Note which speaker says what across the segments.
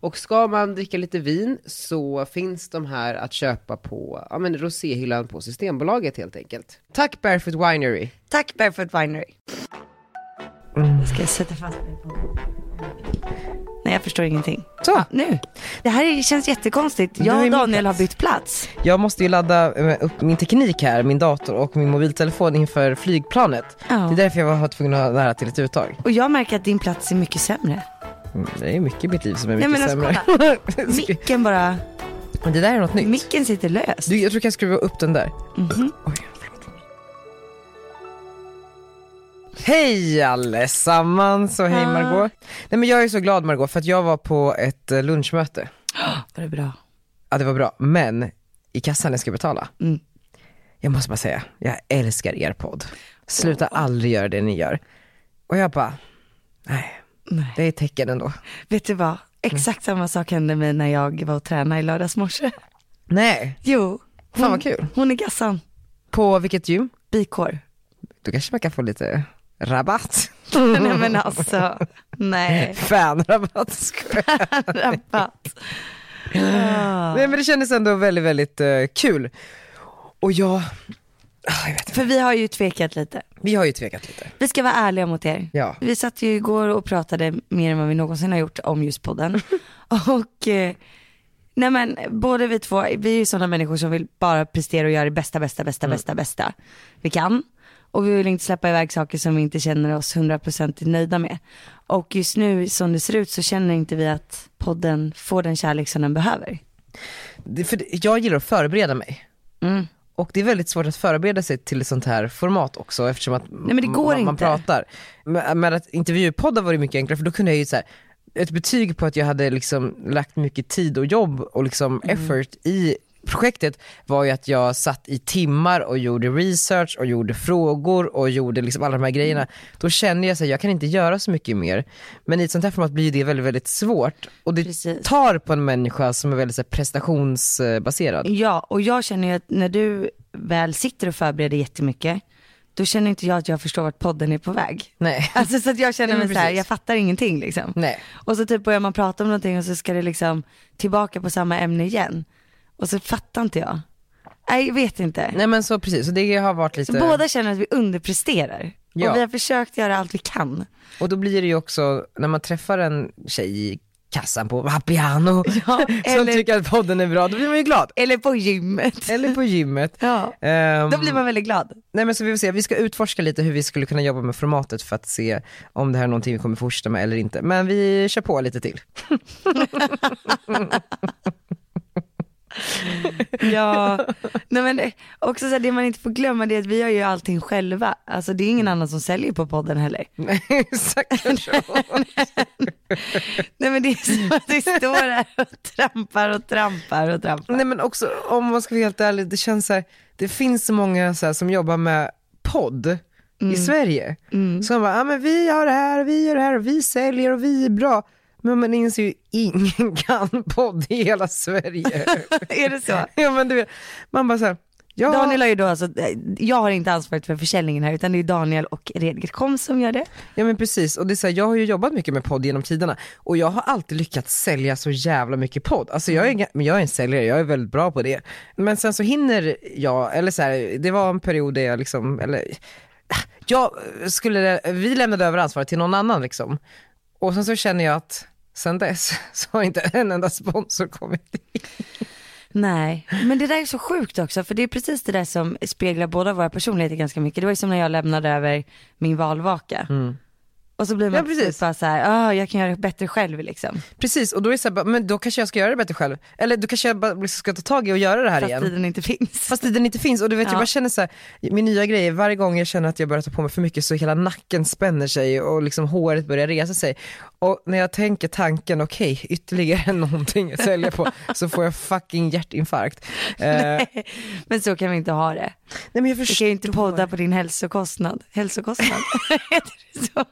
Speaker 1: Och ska man dricka lite vin så finns de här att köpa på ja, men roséhyllan på Systembolaget helt enkelt. Tack Barefoot Winery!
Speaker 2: Tack Barefoot Winery.
Speaker 1: Mm.
Speaker 2: Ska jag sätta fast mig på? Nej, jag förstår ingenting.
Speaker 1: Så!
Speaker 2: Nu. Det här är- känns jättekonstigt. Jag
Speaker 1: är min
Speaker 2: och Daniel har
Speaker 1: plats.
Speaker 2: bytt plats.
Speaker 1: Jag måste ju ladda eh, upp min teknik här, min dator och min mobiltelefon inför flygplanet.
Speaker 2: Ja.
Speaker 1: Det är därför jag var tvungen att ha det här till ett uttag.
Speaker 2: Och jag märker att din plats är mycket sämre.
Speaker 1: Mm, Det är mycket i mitt liv som är
Speaker 2: Nej,
Speaker 1: mycket
Speaker 2: men
Speaker 1: sämre.
Speaker 2: alltså, Micken bara,
Speaker 1: Men det där är något nytt.
Speaker 2: micken sitter löst.
Speaker 1: Du, jag tror jag kan skruva upp den där.
Speaker 2: Mhm.
Speaker 1: Oj, förlåt. Hej allesammans och hej Margot. Nej men jag är så glad Margot för att jag var på ett eh, lunchmöte.
Speaker 2: Var Ah, det bra?
Speaker 1: Ja det var bra, men i kassan när jag ska betala.
Speaker 2: Mm.
Speaker 1: Jag måste bara säga, jag älskar er podd. Sluta aldrig göra det ni gör. Och jag bara, nej,
Speaker 2: Nej.
Speaker 1: det är ett tecken ändå.
Speaker 2: Vet du
Speaker 1: Mm.
Speaker 2: vad? Exakt samma sak hände mig när jag var och tränade i lördags morse.
Speaker 1: Nej,
Speaker 2: Jo,
Speaker 1: fan vad kul.
Speaker 2: hon är gassan.
Speaker 1: På vilket gym?
Speaker 2: Bikår.
Speaker 1: Då kanske man kan få lite rabatt.
Speaker 2: nej men alltså, nej.
Speaker 1: Fanrabatt, skojar.
Speaker 2: Rabatt. Ah.
Speaker 1: Nej men det kändes ändå väldigt, väldigt eh, kul. Och jag, ah, jag vet inte.
Speaker 2: För vi har ju tvekat lite.
Speaker 1: vi har ju tvekat lite.
Speaker 2: Vi ska vara ärliga mot er.
Speaker 1: Ja.
Speaker 2: Vi satt ju igår och pratade mer än vad vi någonsin har gjort om just podden. och eh, nej men både vi två, vi är ju sådana människor som vill bara prestera och göra det bästa, bästa, bästa, bästa, bästa vi kan. Och vi vill inte släppa iväg saker som vi inte känner oss hundraprocentigt nöjda med. Och just nu som det ser ut så känner inte vi att podden får den kärlek som den behöver.
Speaker 1: Det, för det- jag gillar att förbereda mig.
Speaker 2: Mm.
Speaker 1: Och det är väldigt svårt att förbereda sig till ett sånt här format också eftersom att
Speaker 2: Nej, men det går
Speaker 1: man, man
Speaker 2: inte.
Speaker 1: pratar. Men, men att intervjupoddar var det mycket enklare för då kunde jag ju så här, ett betyg på att jag hade liksom lagt mycket tid och jobb och liksom
Speaker 2: Mm.
Speaker 1: effort i projektet var ju att jag satt i timmar och gjorde research och gjorde frågor och gjorde liksom alla de här grejerna.
Speaker 2: Mm.
Speaker 1: Då kände jag att jag kan inte göra så mycket mer. Men i ett sånt här format blir ju det väldigt, väldigt svårt och det
Speaker 2: Precis.
Speaker 1: tar på en människa som är väldigt så här, prestationsbaserad.
Speaker 2: Ja, och jag känner ju att när du väl sitter och förbereder jättemycket, då känner inte jag att jag förstår vart podden är på väg.
Speaker 1: Nej.
Speaker 2: Alltså så att jag känner
Speaker 1: Nej, men
Speaker 2: mig så här,
Speaker 1: precis.
Speaker 2: jag fattar ingenting liksom.
Speaker 1: Nej.
Speaker 2: Och så typ börjar man prata om någonting och så ska det liksom tillbaka på samma ämne igen. Och så fattar inte jag. Nej, jag vet inte.
Speaker 1: Nej men så precis, så det har varit
Speaker 2: så
Speaker 1: lite,
Speaker 2: båda känner att vi underpresterar.
Speaker 1: Ja.
Speaker 2: Och vi har försökt göra allt vi kan.
Speaker 1: och då blir det ju också när man träffar en tjej i kassan på Vapiano som
Speaker 2: eller-
Speaker 1: tycker att podden är bra, då blir man ju glad.
Speaker 2: Eller på gymmet.
Speaker 1: Eller på gymmet.
Speaker 2: Ja.
Speaker 1: Ehm,
Speaker 2: Då blir man väldigt glad.
Speaker 1: Nej men så vi får se, vi ska utforska lite hur vi skulle kunna jobba med formatet för att se om det här är någonting vi kommer fortsätta med eller inte. Men vi kör på lite till.
Speaker 2: Ja, nej men det- också så här, det man inte får glömma det är att vi gör ju allting själva. Alltså det är ingen annan som säljer på podden heller.
Speaker 1: Nej, exakt så.
Speaker 2: Nej men det är som att vi står här och trampar och trampar och trampar.
Speaker 1: Nej men också om man ska vara helt ärlig, det känns så här, det finns så många så här, som jobbar med podd i Sverige. Så de bara, ja men vi har det här, vi gör det här, och vi säljer och vi är bra. Men man inser ju ingen kan podd i hela Sverige.
Speaker 2: är det så?
Speaker 1: ja, men du vet, man bara så här, ja,
Speaker 2: Daniel har ju då alltså, eh, jag har inte ansvaret för försäljningen här utan det är Daniel och Redgert Kom som gör det.
Speaker 1: ja men precis. Och det är så här, jag har ju jobbat mycket med podd genom tiderna och jag har alltid lyckats sälja så jävla mycket podd. Alltså jag är, ga- men jag är en säljare, jag är väldigt bra på det. Men sen så hinner jag, eller så här, det var en period där jag liksom, eller jag skulle, vi lämnade över ansvaret till någon annan liksom. Och sen så känner jag att sen dess så har inte en enda sponsor kommit in.
Speaker 2: Nej, men det där är så sjukt också för det är precis det där som speglar båda våra personligheter ganska mycket. Det var ju som när jag lämnade över min valvaka. Och så blir man
Speaker 1: Mm. Ja, precis.
Speaker 2: typ bara så här, ah, jag kan göra det bättre själv liksom.
Speaker 1: Precis, och då är det så här, bara, men då kanske jag ska göra det bättre själv. Eller då kanske jag bara liksom ska ta tag i och göra det här
Speaker 2: Fast
Speaker 1: igen.
Speaker 2: tiden inte finns.
Speaker 1: Fast tiden inte finns och du vet jag
Speaker 2: Ja.
Speaker 1: bara känner så här, min nya grej är varje gång jag känner att jag börjar ta på mig för mycket så hela nacken spänner sig och liksom håret börjar resa sig. Och när jag tänker tanken, okej ytterligare någonting att sälja på så får jag fucking hjärtinfarkt. Eh, nej
Speaker 2: Men så kan vi inte ha det.
Speaker 1: men jag
Speaker 2: Vi kan
Speaker 1: förstår.
Speaker 2: ju inte podda på din hälsokostnad. Hälsokostnad? Heter det så?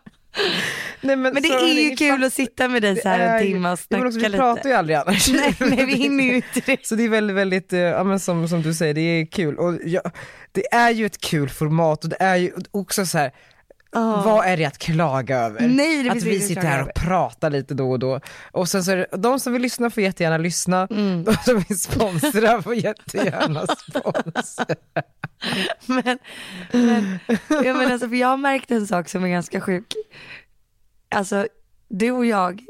Speaker 1: Nej,
Speaker 2: Men det
Speaker 1: så-
Speaker 2: är ju
Speaker 1: inget
Speaker 2: kul
Speaker 1: fack-
Speaker 2: att sitta med dig så
Speaker 1: Det
Speaker 2: här
Speaker 1: är
Speaker 2: en
Speaker 1: ju-
Speaker 2: timme och
Speaker 1: Ja, men
Speaker 2: snacka
Speaker 1: också, vi pratar
Speaker 2: lite.
Speaker 1: ju aldrig annars.
Speaker 2: Nej, nej vi hinner ju inte det.
Speaker 1: Så det är väldigt, väldigt, eh, ja, men som, som du säger, det är kul. Och ja, det är ju ett kul format och det är ju också så här. Vad är det att klaga över?
Speaker 2: Nej, det
Speaker 1: att
Speaker 2: finns
Speaker 1: vi
Speaker 2: inget att
Speaker 1: sitter
Speaker 2: klaga
Speaker 1: här och
Speaker 2: över.
Speaker 1: pratar lite då och då. Och sen så är det, de som vill lyssna får jättegärna lyssna,
Speaker 2: Mm.
Speaker 1: de som vill sponsra får jättegärna sponsra.
Speaker 2: men, men, ja, men alltså, för jag har märkt en sak som är ganska sjuk. Alltså, du och jag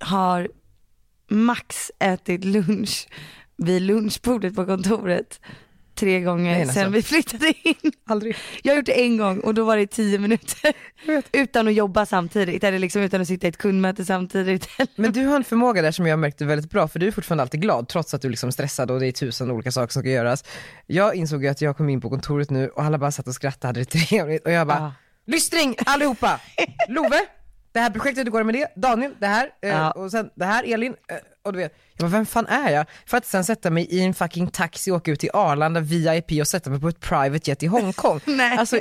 Speaker 2: har max ätit lunch vid lunchbordet på kontoret tre gånger
Speaker 1: Nej, alltså.
Speaker 2: sen vi flyttade in.
Speaker 1: Aldrig.
Speaker 2: Jag har gjort det en gång och då var det tio minuter utan att jobba samtidigt eller liksom utan att sitta i ett kundmöte samtidigt.
Speaker 1: Men du har en förmåga där som jag märkte väldigt bra, för du är fortfarande alltid glad trots att du liksom är stressad och det är tusen olika saker som ska göras. Jag insåg ju att jag kom in på kontoret nu och alla bara satt och skrattade hade det trevligt och jag bara,
Speaker 2: Ja.
Speaker 1: lystring allihopa! Love, det här projektet, hur går det med det? Daniel, det här, eh,
Speaker 2: Ja.
Speaker 1: och sen det här, Elin, eh, och du vet. Jag bara, vem fan är jag? För att sen sätta mig i en fucking taxi och åka ut till Arlanda VIP och sätta mig på ett private jet i Hongkong.
Speaker 2: Nej.
Speaker 1: Alltså,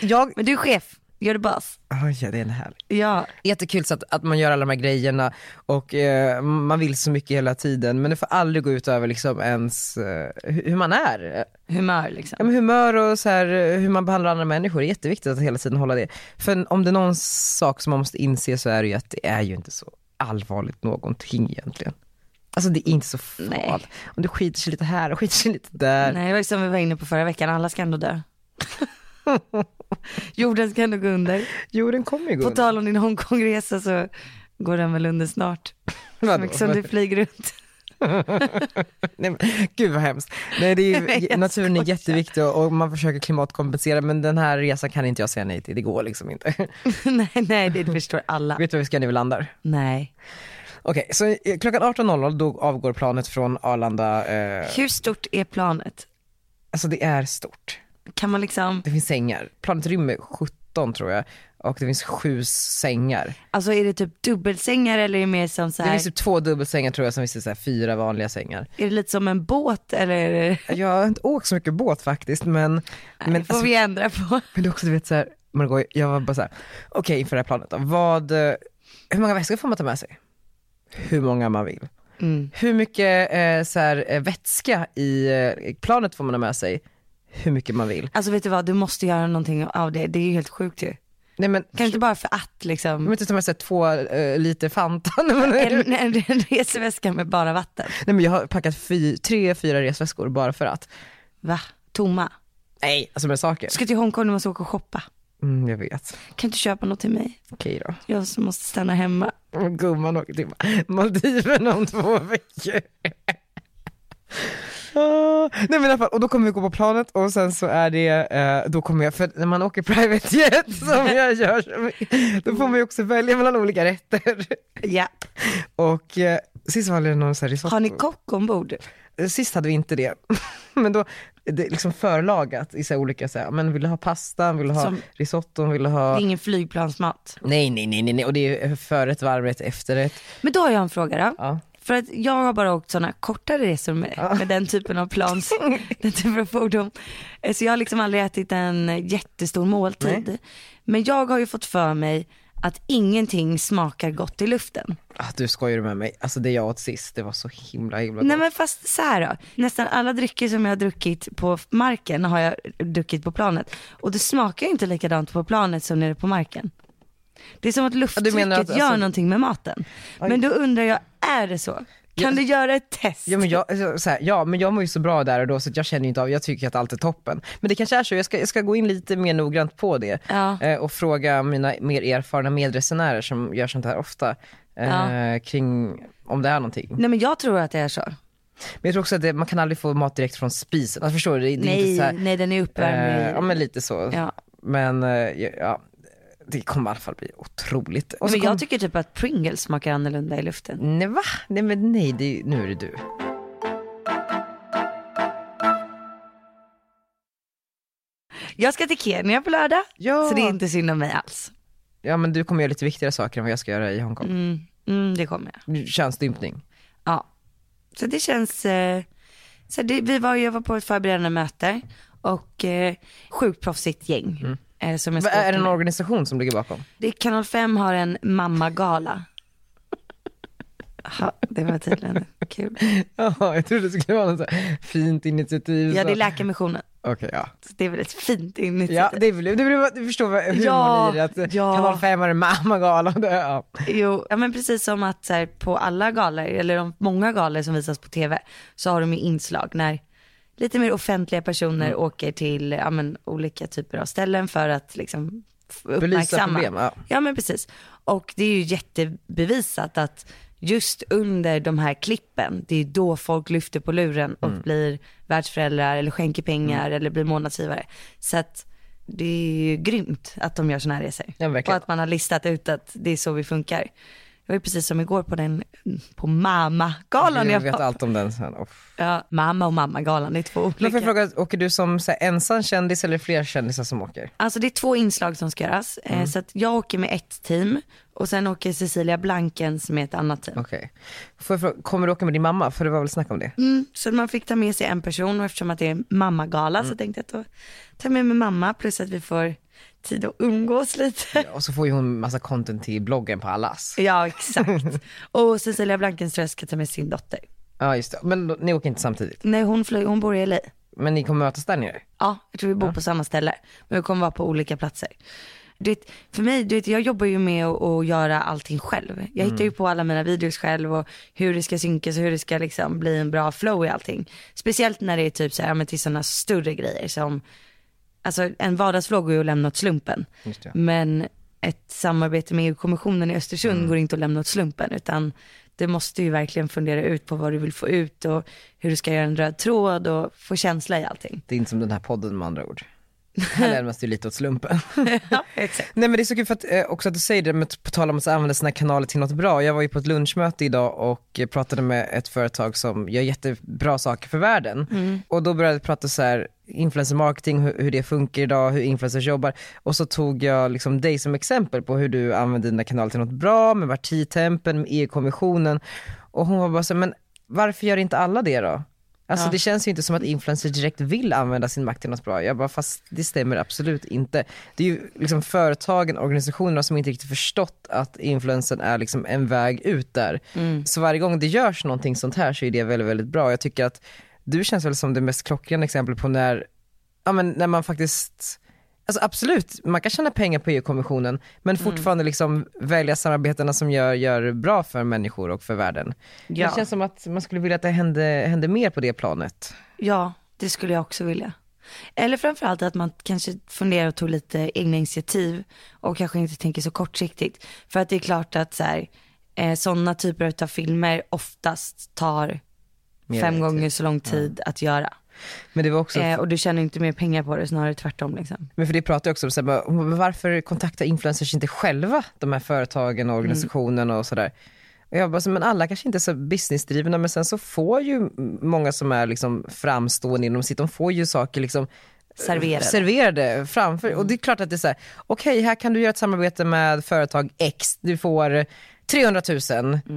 Speaker 1: jag,
Speaker 2: Men du är chef, gör det boss.
Speaker 1: Oj, ja, det är en härlig.
Speaker 2: Ja,
Speaker 1: Jättekul så att, att man gör alla de här grejerna och eh, man vill så mycket hela tiden men det får aldrig gå ut över liksom ens eh, hu- hur man är.
Speaker 2: humör liksom.
Speaker 1: Ja, men humör och så här, eh, hur man behandlar andra människor det är jätteviktigt att hela tiden hålla det. För om det är någon sak som man måste inse så är det ju att det är ju inte så allvarligt någonting egentligen. Alltså det är inte så
Speaker 2: Nej.
Speaker 1: farligt. Om du skiter sig lite här och skiter sig lite där.
Speaker 2: Nej, det var ju som vi var inne på förra veckan, alla ska ändå dö. Jorden ska ändå gå under.
Speaker 1: Jo den kommer ju gå
Speaker 2: På
Speaker 1: undan.
Speaker 2: tal om din Hongkongresa så går den väl under snart. Så
Speaker 1: Vadå?
Speaker 2: mycket som du flyger runt.
Speaker 1: Nej, men, gud vad hemskt. Nej, det är
Speaker 2: Nej,
Speaker 1: ju,
Speaker 2: jag
Speaker 1: naturen är
Speaker 2: skojar.
Speaker 1: jätteviktig och och man försöker klimatkompensera men den här resan kan inte jag säga nej till, det går liksom inte.
Speaker 2: nej, nej, det förstår alla.
Speaker 1: Vet du vad vi ska när vi landar?
Speaker 2: Nej.
Speaker 1: Okej, så eh, klockan 18.00 då avgår planet från Arlanda, eh,
Speaker 2: Hur stort är planet?
Speaker 1: alltså det är stort.
Speaker 2: Kan man liksom,
Speaker 1: Det finns sängar, planet rymmer 17 tror jag och det finns sju sängar.
Speaker 2: alltså är det typ dubbelsängar eller är det mer som så
Speaker 1: Det
Speaker 2: här,
Speaker 1: finns typ två dubbelsängar tror jag, sen finns det så här fyra vanliga sängar.
Speaker 2: är det lite som en båt eller? är det-
Speaker 1: Jag har inte åkt så mycket båt faktiskt men,
Speaker 2: Nej,
Speaker 1: men alltså,
Speaker 2: det får vi ändra på.
Speaker 1: Men det är också du vet såhär, Margot, jag var bara såhär, okej inför det här planet då, vad, eh, hur många väskor får man ta med sig? Hur många man vill.
Speaker 2: Mm.
Speaker 1: Hur mycket eh, så här, eh, vätska i eh, planet får man ha med sig? Hur mycket man vill.
Speaker 2: Alltså vet du vad, du måste göra någonting av det. Det är ju helt sjukt ju.
Speaker 1: Nej men,
Speaker 2: Kan du
Speaker 1: kan
Speaker 2: inte bara för att liksom.
Speaker 1: man inte ta med sig två eh, liter Fanta? Nej, men-
Speaker 2: en, en, en resväska med bara vatten.
Speaker 1: Nej men jag har packat fy, tre, fyra resväskor bara för att.
Speaker 2: Va? Tomma.
Speaker 1: Nej, alltså med saker.
Speaker 2: Ska till Hongkong när man ska åka och shoppa.
Speaker 1: Mm, jag vet.
Speaker 2: Kan du köpa något till mig?
Speaker 1: Okej då.
Speaker 2: Jag som måste stanna hemma.
Speaker 1: Och Gumman åker till Maldiverna om två veckor. Ah, nej men i alla fall, och då kommer vi gå på planet och sen så är det, eh, då kommer jag, för när man åker private jet som jag gör, så- då får man ju också välja mellan olika rätter.
Speaker 2: Ja.
Speaker 1: Och eh, sist var det någon sån här risotto.
Speaker 2: Har ni kock ombord?
Speaker 1: Eh, Sist hade vi inte det. Men då, det är liksom förlagat i så här olika, så här, men vill du ha pasta, vill du ha
Speaker 2: Som-
Speaker 1: risotton, vill du
Speaker 2: Det
Speaker 1: ha...
Speaker 2: är ingen flygplansmat.
Speaker 1: Nej nej nej nej, nej. och det är eh, förrätt, varmrätt, efterrätt.
Speaker 2: Men då har jag en fråga då.
Speaker 1: Ja.
Speaker 2: För att jag har bara åkt sådana kortare resor med, med den typen av plans, den typen av fordon. Eh, Så jag har liksom aldrig ätit en jättestor måltid. Men jag har ju fått för mig att ingenting smakar gott i luften.
Speaker 1: Ah, du skojar med mig. Alltså det jag åt sist, det var så himla himla gott.
Speaker 2: Nej men fast så här då, nästan alla drycker som jag har druckit på marken har jag druckit på planet. Och det smakar ju inte likadant på planet som nere på marken. Det är som att lufttrycket
Speaker 1: menar att, alltså-
Speaker 2: gör någonting med maten. Men då undrar jag, är det så? Kan du göra ett test?
Speaker 1: Ja men, jag, alltså, så här, ja men jag mår ju så bra där och då så att jag känner ju inte av, jag tycker att allt är toppen. Men det kanske är så, jag ska, jag ska gå in lite mer noggrant på det
Speaker 2: Ja.
Speaker 1: eh, och fråga mina mer erfarna medresenärer som gör sånt här ofta eh,
Speaker 2: Ja.
Speaker 1: kring om det är någonting.
Speaker 2: Nej men jag tror att det är så.
Speaker 1: Men jag tror också att det, man kan aldrig få mat direkt från spisen. Alltså, förstår du? Det, det är
Speaker 2: Nej,
Speaker 1: inte så här,
Speaker 2: nej den är
Speaker 1: eh,
Speaker 2: uppvärmd.
Speaker 1: ja men lite så.
Speaker 2: ja.
Speaker 1: Men eh, ja, det kommer i alla fall bli otroligt. Och så
Speaker 2: men
Speaker 1: kom,
Speaker 2: jag tycker typ att Pringles smakar annorlunda i luften.
Speaker 1: nej va? Nej men nej, det, är- nu är det du.
Speaker 2: Jag ska till Kenya på lördag,
Speaker 1: Ja.
Speaker 2: så det är inte synd om mig alls.
Speaker 1: Ja men du kommer göra lite viktigare saker än vad jag ska göra i Hongkong.
Speaker 2: Mm, mm, det kommer jag.
Speaker 1: Könsstympning.
Speaker 2: Ja. Så det känns, eh, så det, vi var, jag var på ett förberedande möte och eh, sjukt proffsigt gäng. Eh, som
Speaker 1: Mm. Va,
Speaker 2: jag ska åka
Speaker 1: är det en
Speaker 2: med.
Speaker 1: organisation som ligger bakom?
Speaker 2: det är Kanal 5 har en mammagala. Ja, det var tydligen kul.
Speaker 1: Ja, jag trodde det skulle vara något så här fint initiativ.
Speaker 2: Ja,
Speaker 1: så-
Speaker 2: det är Läkarmissionen.
Speaker 1: Okej, ja.
Speaker 2: Så det är väl ett fint initiativ.
Speaker 1: Ja, det är väl, det är väl, du förstår vad- humorn
Speaker 2: Ja,
Speaker 1: i det, att
Speaker 2: ja.
Speaker 1: kanal 5 är en mammagala. Det- Ja.
Speaker 2: Jo, ja men precis som att så här, på alla galor, eller de många galor som visas på tv, så har de ju inslag när lite mer offentliga personer
Speaker 1: Mm.
Speaker 2: åker till ja, men, olika typer av ställen för att liksom f- uppmärksamma.
Speaker 1: problem, ja.
Speaker 2: ja men precis. Och det är ju jättebevisat att just under de här klippen, det är då folk lyfter på luren och
Speaker 1: Mm.
Speaker 2: blir världsföräldrar eller skänker pengar eller blir månadsgivare. Så att det är ju grymt att de gör sådana här resor.
Speaker 1: Ja, verkligen.
Speaker 2: och att man har listat ut att det är så vi funkar. Det var ju precis som igår på den, på mamma-galan
Speaker 1: Jag
Speaker 2: jag
Speaker 1: vet
Speaker 2: var.
Speaker 1: allt om den sen. Off.
Speaker 2: Ja, mamma och mamma-galan, det är två olika.
Speaker 1: Men får jag fråga, åker du som så här, ensam kändis eller fler kändisar som åker?
Speaker 2: Alltså det är två inslag som ska göras. Eh,
Speaker 1: Mm.
Speaker 2: Så att jag åker med ett team och sen åker Cecilia Blankens med ett annat team.
Speaker 1: Okej. Får jag fråga, kommer du åka med din mamma? För det var väl snack om det?
Speaker 2: Mm, så man fick ta med sig en person och eftersom att det är mammagala så tänkte jag att då ta med mig mamma plus att vi får tid att umgås lite.
Speaker 1: Och så får ju hon massa content till bloggen på Allas.
Speaker 2: Ja, exakt. och Cecilia Blankens tror jag ska ta med sin dotter.
Speaker 1: Ja just det, men då- ni åker inte samtidigt.
Speaker 2: Nej hon, flyger, hon bor i LA.
Speaker 1: Men ni kommer mötas där nere?
Speaker 2: Ja, jag tror vi bor på samma ställe. Men vi kommer vara på olika platser. Du vet, för mig, du vet, jag jobbar ju med att, att göra allting själv. Jag hittar ju
Speaker 1: Mm.
Speaker 2: på alla mina videos själv och hur det ska synkas och hur det ska liksom bli en bra flow i allting. Speciellt när det är typ så här, ja, men till sådana större grejer som, alltså en vardagsvlogg går ju att lämna åt slumpen.
Speaker 1: Just det.
Speaker 2: Men ett samarbete med EU-kommissionen i Östersund
Speaker 1: Mm.
Speaker 2: går inte att lämna åt slumpen utan du måste ju verkligen fundera ut på vad du vill få ut och hur du ska göra en röd tråd och få känsla i allting.
Speaker 1: Det är inte som den här podden med andra ord. Här lämnas det ju lite åt slumpen.
Speaker 2: Ja, exakt.
Speaker 1: Nej men det är så kul för att, eh, också att du säger det, med, på tal om att använda sina kanaler till något bra. Jag var ju på ett lunchmöte idag och eh, pratade med ett företag som gör jättebra saker för världen. Och då började jag prata så här, influencer marketing, hur, hur det funkar idag, hur influencers jobbar. Och så tog jag liksom dig som exempel på hur du använder dina kanaler till något bra, med partitempen, med EU-kommissionen. Och hon var bara så här, men varför gör inte alla det då? Alltså det känns ju inte som att influencers direkt vill använda sin makt till något bra. Jag bara, fast det stämmer absolut inte. Det är ju liksom företagen, organisationerna som inte riktigt förstått att influensen är liksom en väg ut där. Så varje gång det görs någonting sånt här så är det väldigt, väldigt bra. Jag tycker att du känns väl som det mest klockrena exemplet på när, ja men när man faktiskt Alltså absolut, man kan tjäna pengar på EU-kommissionen men fortfarande liksom välja samarbetena som gör, gör bra för människor och för världen.
Speaker 2: Ja.
Speaker 1: Det känns som att man skulle vilja att det hände, hände mer på det planet.
Speaker 2: Ja, det skulle jag också vilja. Eller framförallt att man kanske funderar och tog lite egna initiativ och kanske inte tänker så kortsiktigt. För att det är klart att så här, eh, sådana typer av filmer oftast tar
Speaker 1: Mer
Speaker 2: fem
Speaker 1: tid.
Speaker 2: gånger så lång tid att göra.
Speaker 1: Men det var också,
Speaker 2: Eh, och du tjänar inte mer pengar på det, snarare tvärtom liksom.
Speaker 1: men för det pratade jag också om, så här, bara, men varför kontaktar influencers inte själva de här företagen och organisationen och sådär. Och jag bara, så, men alla kanske inte är så businessdrivna men sen så får ju många som är liksom framstående inom sitt, de får ju saker liksom
Speaker 2: Serverade.
Speaker 1: serverade framför. Och det är klart att det är så här, okej här kan du göra ett samarbete med företag X, du får 300 000.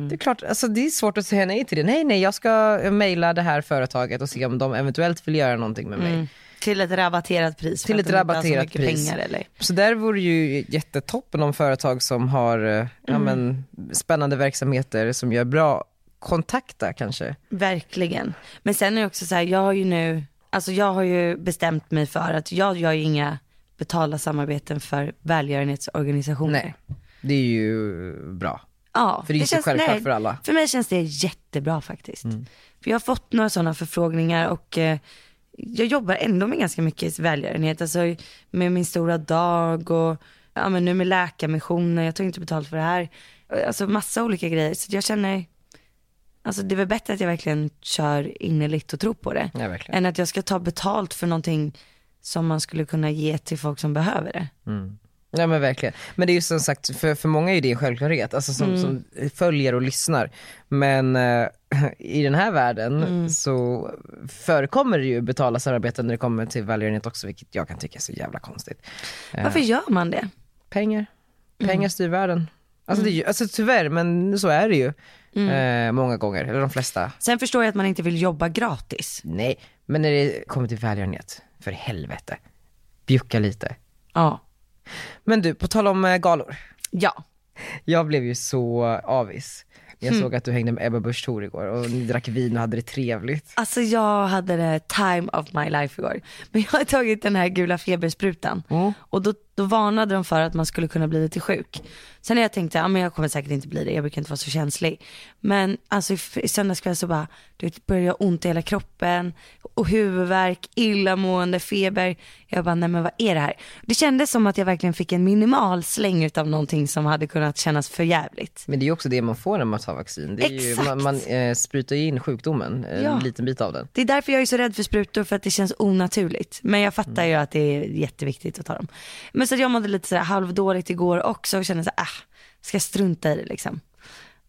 Speaker 1: Det är klart, alltså det är svårt att säga nej till det. Nej, nej, jag ska mejla det här företaget och se om de eventuellt vill göra någonting med mig.
Speaker 2: Till ett rabatterat pris. för
Speaker 1: Till
Speaker 2: att
Speaker 1: ett
Speaker 2: de inte har så
Speaker 1: rabatterat
Speaker 2: mycket
Speaker 1: pris.
Speaker 2: Pengar, eller?
Speaker 1: Så där vore ju jättetoppen om företag som har eh,
Speaker 2: Mm.
Speaker 1: ja, men, spännande verksamheter som gör bra, kontakta kanske.
Speaker 2: Verkligen. Men sen är det också så här, jag har ju nu, alltså jag har ju bestämt mig för att jag gör ju inga betalda samarbeten för välgörenhetsorganisationer.
Speaker 1: Nej, det är ju bra.
Speaker 2: Ja,
Speaker 1: För det är inte självklart
Speaker 2: nej,
Speaker 1: för alla. Mm.
Speaker 2: För mig känns det jättebra faktiskt. För jag har fått några sådana förfrågningar och eh, jag jobbar ändå med ganska mycket välgörenhet. Alltså med min stora dag och ja, men nu med läkarmissionen, jag tar inte betalt för det här. Alltså massa olika grejer. Så jag känner, Alltså det är väl bättre att jag verkligen kör innerligt och tror på det.
Speaker 1: Ja, verkligen.
Speaker 2: än att jag ska ta betalt för någonting som man skulle kunna ge till folk som behöver det.
Speaker 1: Ja men verkligen. Men det är ju som sagt, för, för många är det en självklarhet, alltså som,
Speaker 2: Mm.
Speaker 1: som följer och lyssnar. Men eh, i den här världen
Speaker 2: Mm.
Speaker 1: så förekommer det ju betala samarbeten när det kommer till välgörenhet också, vilket jag kan tycka är så jävla konstigt.
Speaker 2: Varför gör man det?
Speaker 1: Pengar. Pengar styr världen. Alltså, det är ju, alltså tyvärr, men så är det ju eh, många gånger, eller de flesta.
Speaker 2: Sen förstår jag att man inte vill jobba gratis.
Speaker 1: Nej, men när det kommer till välgörenhet, för helvete. Bjucka lite.
Speaker 2: Ja.
Speaker 1: Men du, på tal om eh, galor.
Speaker 2: Ja.
Speaker 1: Jag blev ju så avis. Jag såg att du hängde med Ebba Busch Thor igår och ni drack vin och hade det trevligt.
Speaker 2: Alltså jag hade det time of my life igår. Men jag har tagit den här gula febersprutan. Och då, då varnade de för att man skulle kunna bli lite sjuk. Sen när jag tänkte, ja men jag kommer säkert inte bli det, jag brukar inte vara så känslig. Men alltså i, f- i söndags kväll så bara, du vet, började jag ont i hela kroppen. Och huvudvärk, illamående, feber. Jag bara, nej men vad är det här? Det kändes som att jag verkligen fick en minimal släng utav någonting som hade kunnat kännas för jävligt.
Speaker 1: Men det är ju också det man får när man tar vaccin. Det är ju,
Speaker 2: Exakt.
Speaker 1: man man eh, sprutar ju in sjukdomen, en
Speaker 2: Ja.
Speaker 1: liten bit av den.
Speaker 2: Det är därför jag är så rädd för sprutor, för att det känns onaturligt. Men jag fattar ju att det är jätteviktigt att ta dem. Men så att jag mådde lite sådär halvdåligt igår också och kände så här, äh, ska jag strunta i det liksom?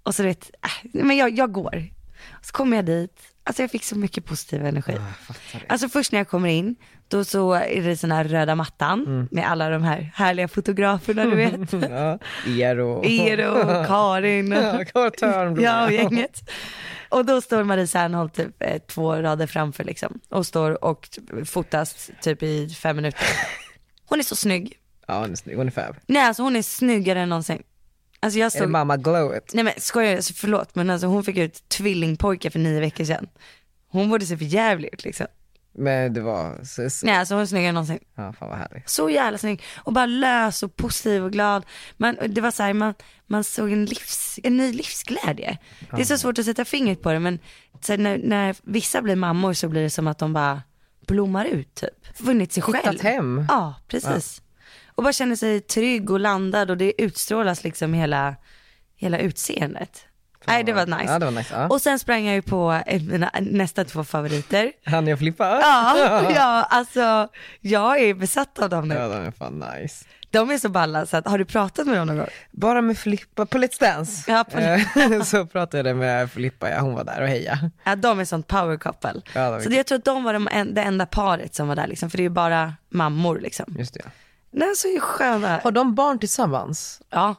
Speaker 2: Och så du vet, äh, men jag, jag går. Så kommer jag dit, alltså jag fick så mycket positiv energi. Alltså först när jag kommer in, då så är det sån här röda mattan med alla de här härliga fotograferna du vet.
Speaker 1: Ja. Er och...
Speaker 2: Er och Karin och
Speaker 1: Ja, Karl Törnblom.
Speaker 2: Ja, och gänget. Och då står Marie Serneholt typ eh, två rader framför liksom. Och står och t- fotas typ i fem minuter. Hon är så snygg.
Speaker 1: Ja, hon är snygg. Hon är fab.
Speaker 2: Nej alltså hon är snyggare än någonsin. Alltså jag
Speaker 1: Är det
Speaker 2: stod,
Speaker 1: Eh, mamma glowet?
Speaker 2: nej men skojar jag, alltså, förlåt men alltså hon fick ut tvillingpojkar för nio veckor sedan. Hon borde se för jävligt ut liksom.
Speaker 1: Men det var... Så, så.
Speaker 2: Nej alltså hon är snyggare än någonsin.
Speaker 1: Ja, fan vad härligt.
Speaker 2: Så jävla snygg och bara lös och positiv och glad. Man, det var så här, man, man såg en, livs, en ny livsglädje. Det är så svårt att sätta fingret på det men så här, när, när vissa blir mammor så blir det som att de bara blommar ut typ. Funnit sig
Speaker 1: Hittat
Speaker 2: själv.
Speaker 1: hem.
Speaker 2: Ja, precis. Och bara känner sig trygg och landad och det utstrålas liksom hela, hela utseendet. Nej det var nice.
Speaker 1: Ja, det var nice. Ja.
Speaker 2: Och sen sprang jag ju på eh, mina nästa två favoriter.
Speaker 1: Han jag flippar?
Speaker 2: Ja, ja, alltså jag är besatt av dem nu.
Speaker 1: Ja, de är fan nice.
Speaker 2: De är så balla så att, har du pratat med dem någon gång?
Speaker 1: Bara med Filippa, på Let's Dance,
Speaker 2: Ja, på-
Speaker 1: Eh, så pratade jag med Filippa, ja, hon var där och hejade.
Speaker 2: Ja, de är sånt power couple.
Speaker 1: Ja, de är
Speaker 2: så det, jag tror att de var de en, det enda paret som var där liksom, för det är ju bara mammor liksom.
Speaker 1: Just det.
Speaker 2: Nej, så är sköna.
Speaker 1: Har de barn tillsammans?
Speaker 2: Ja,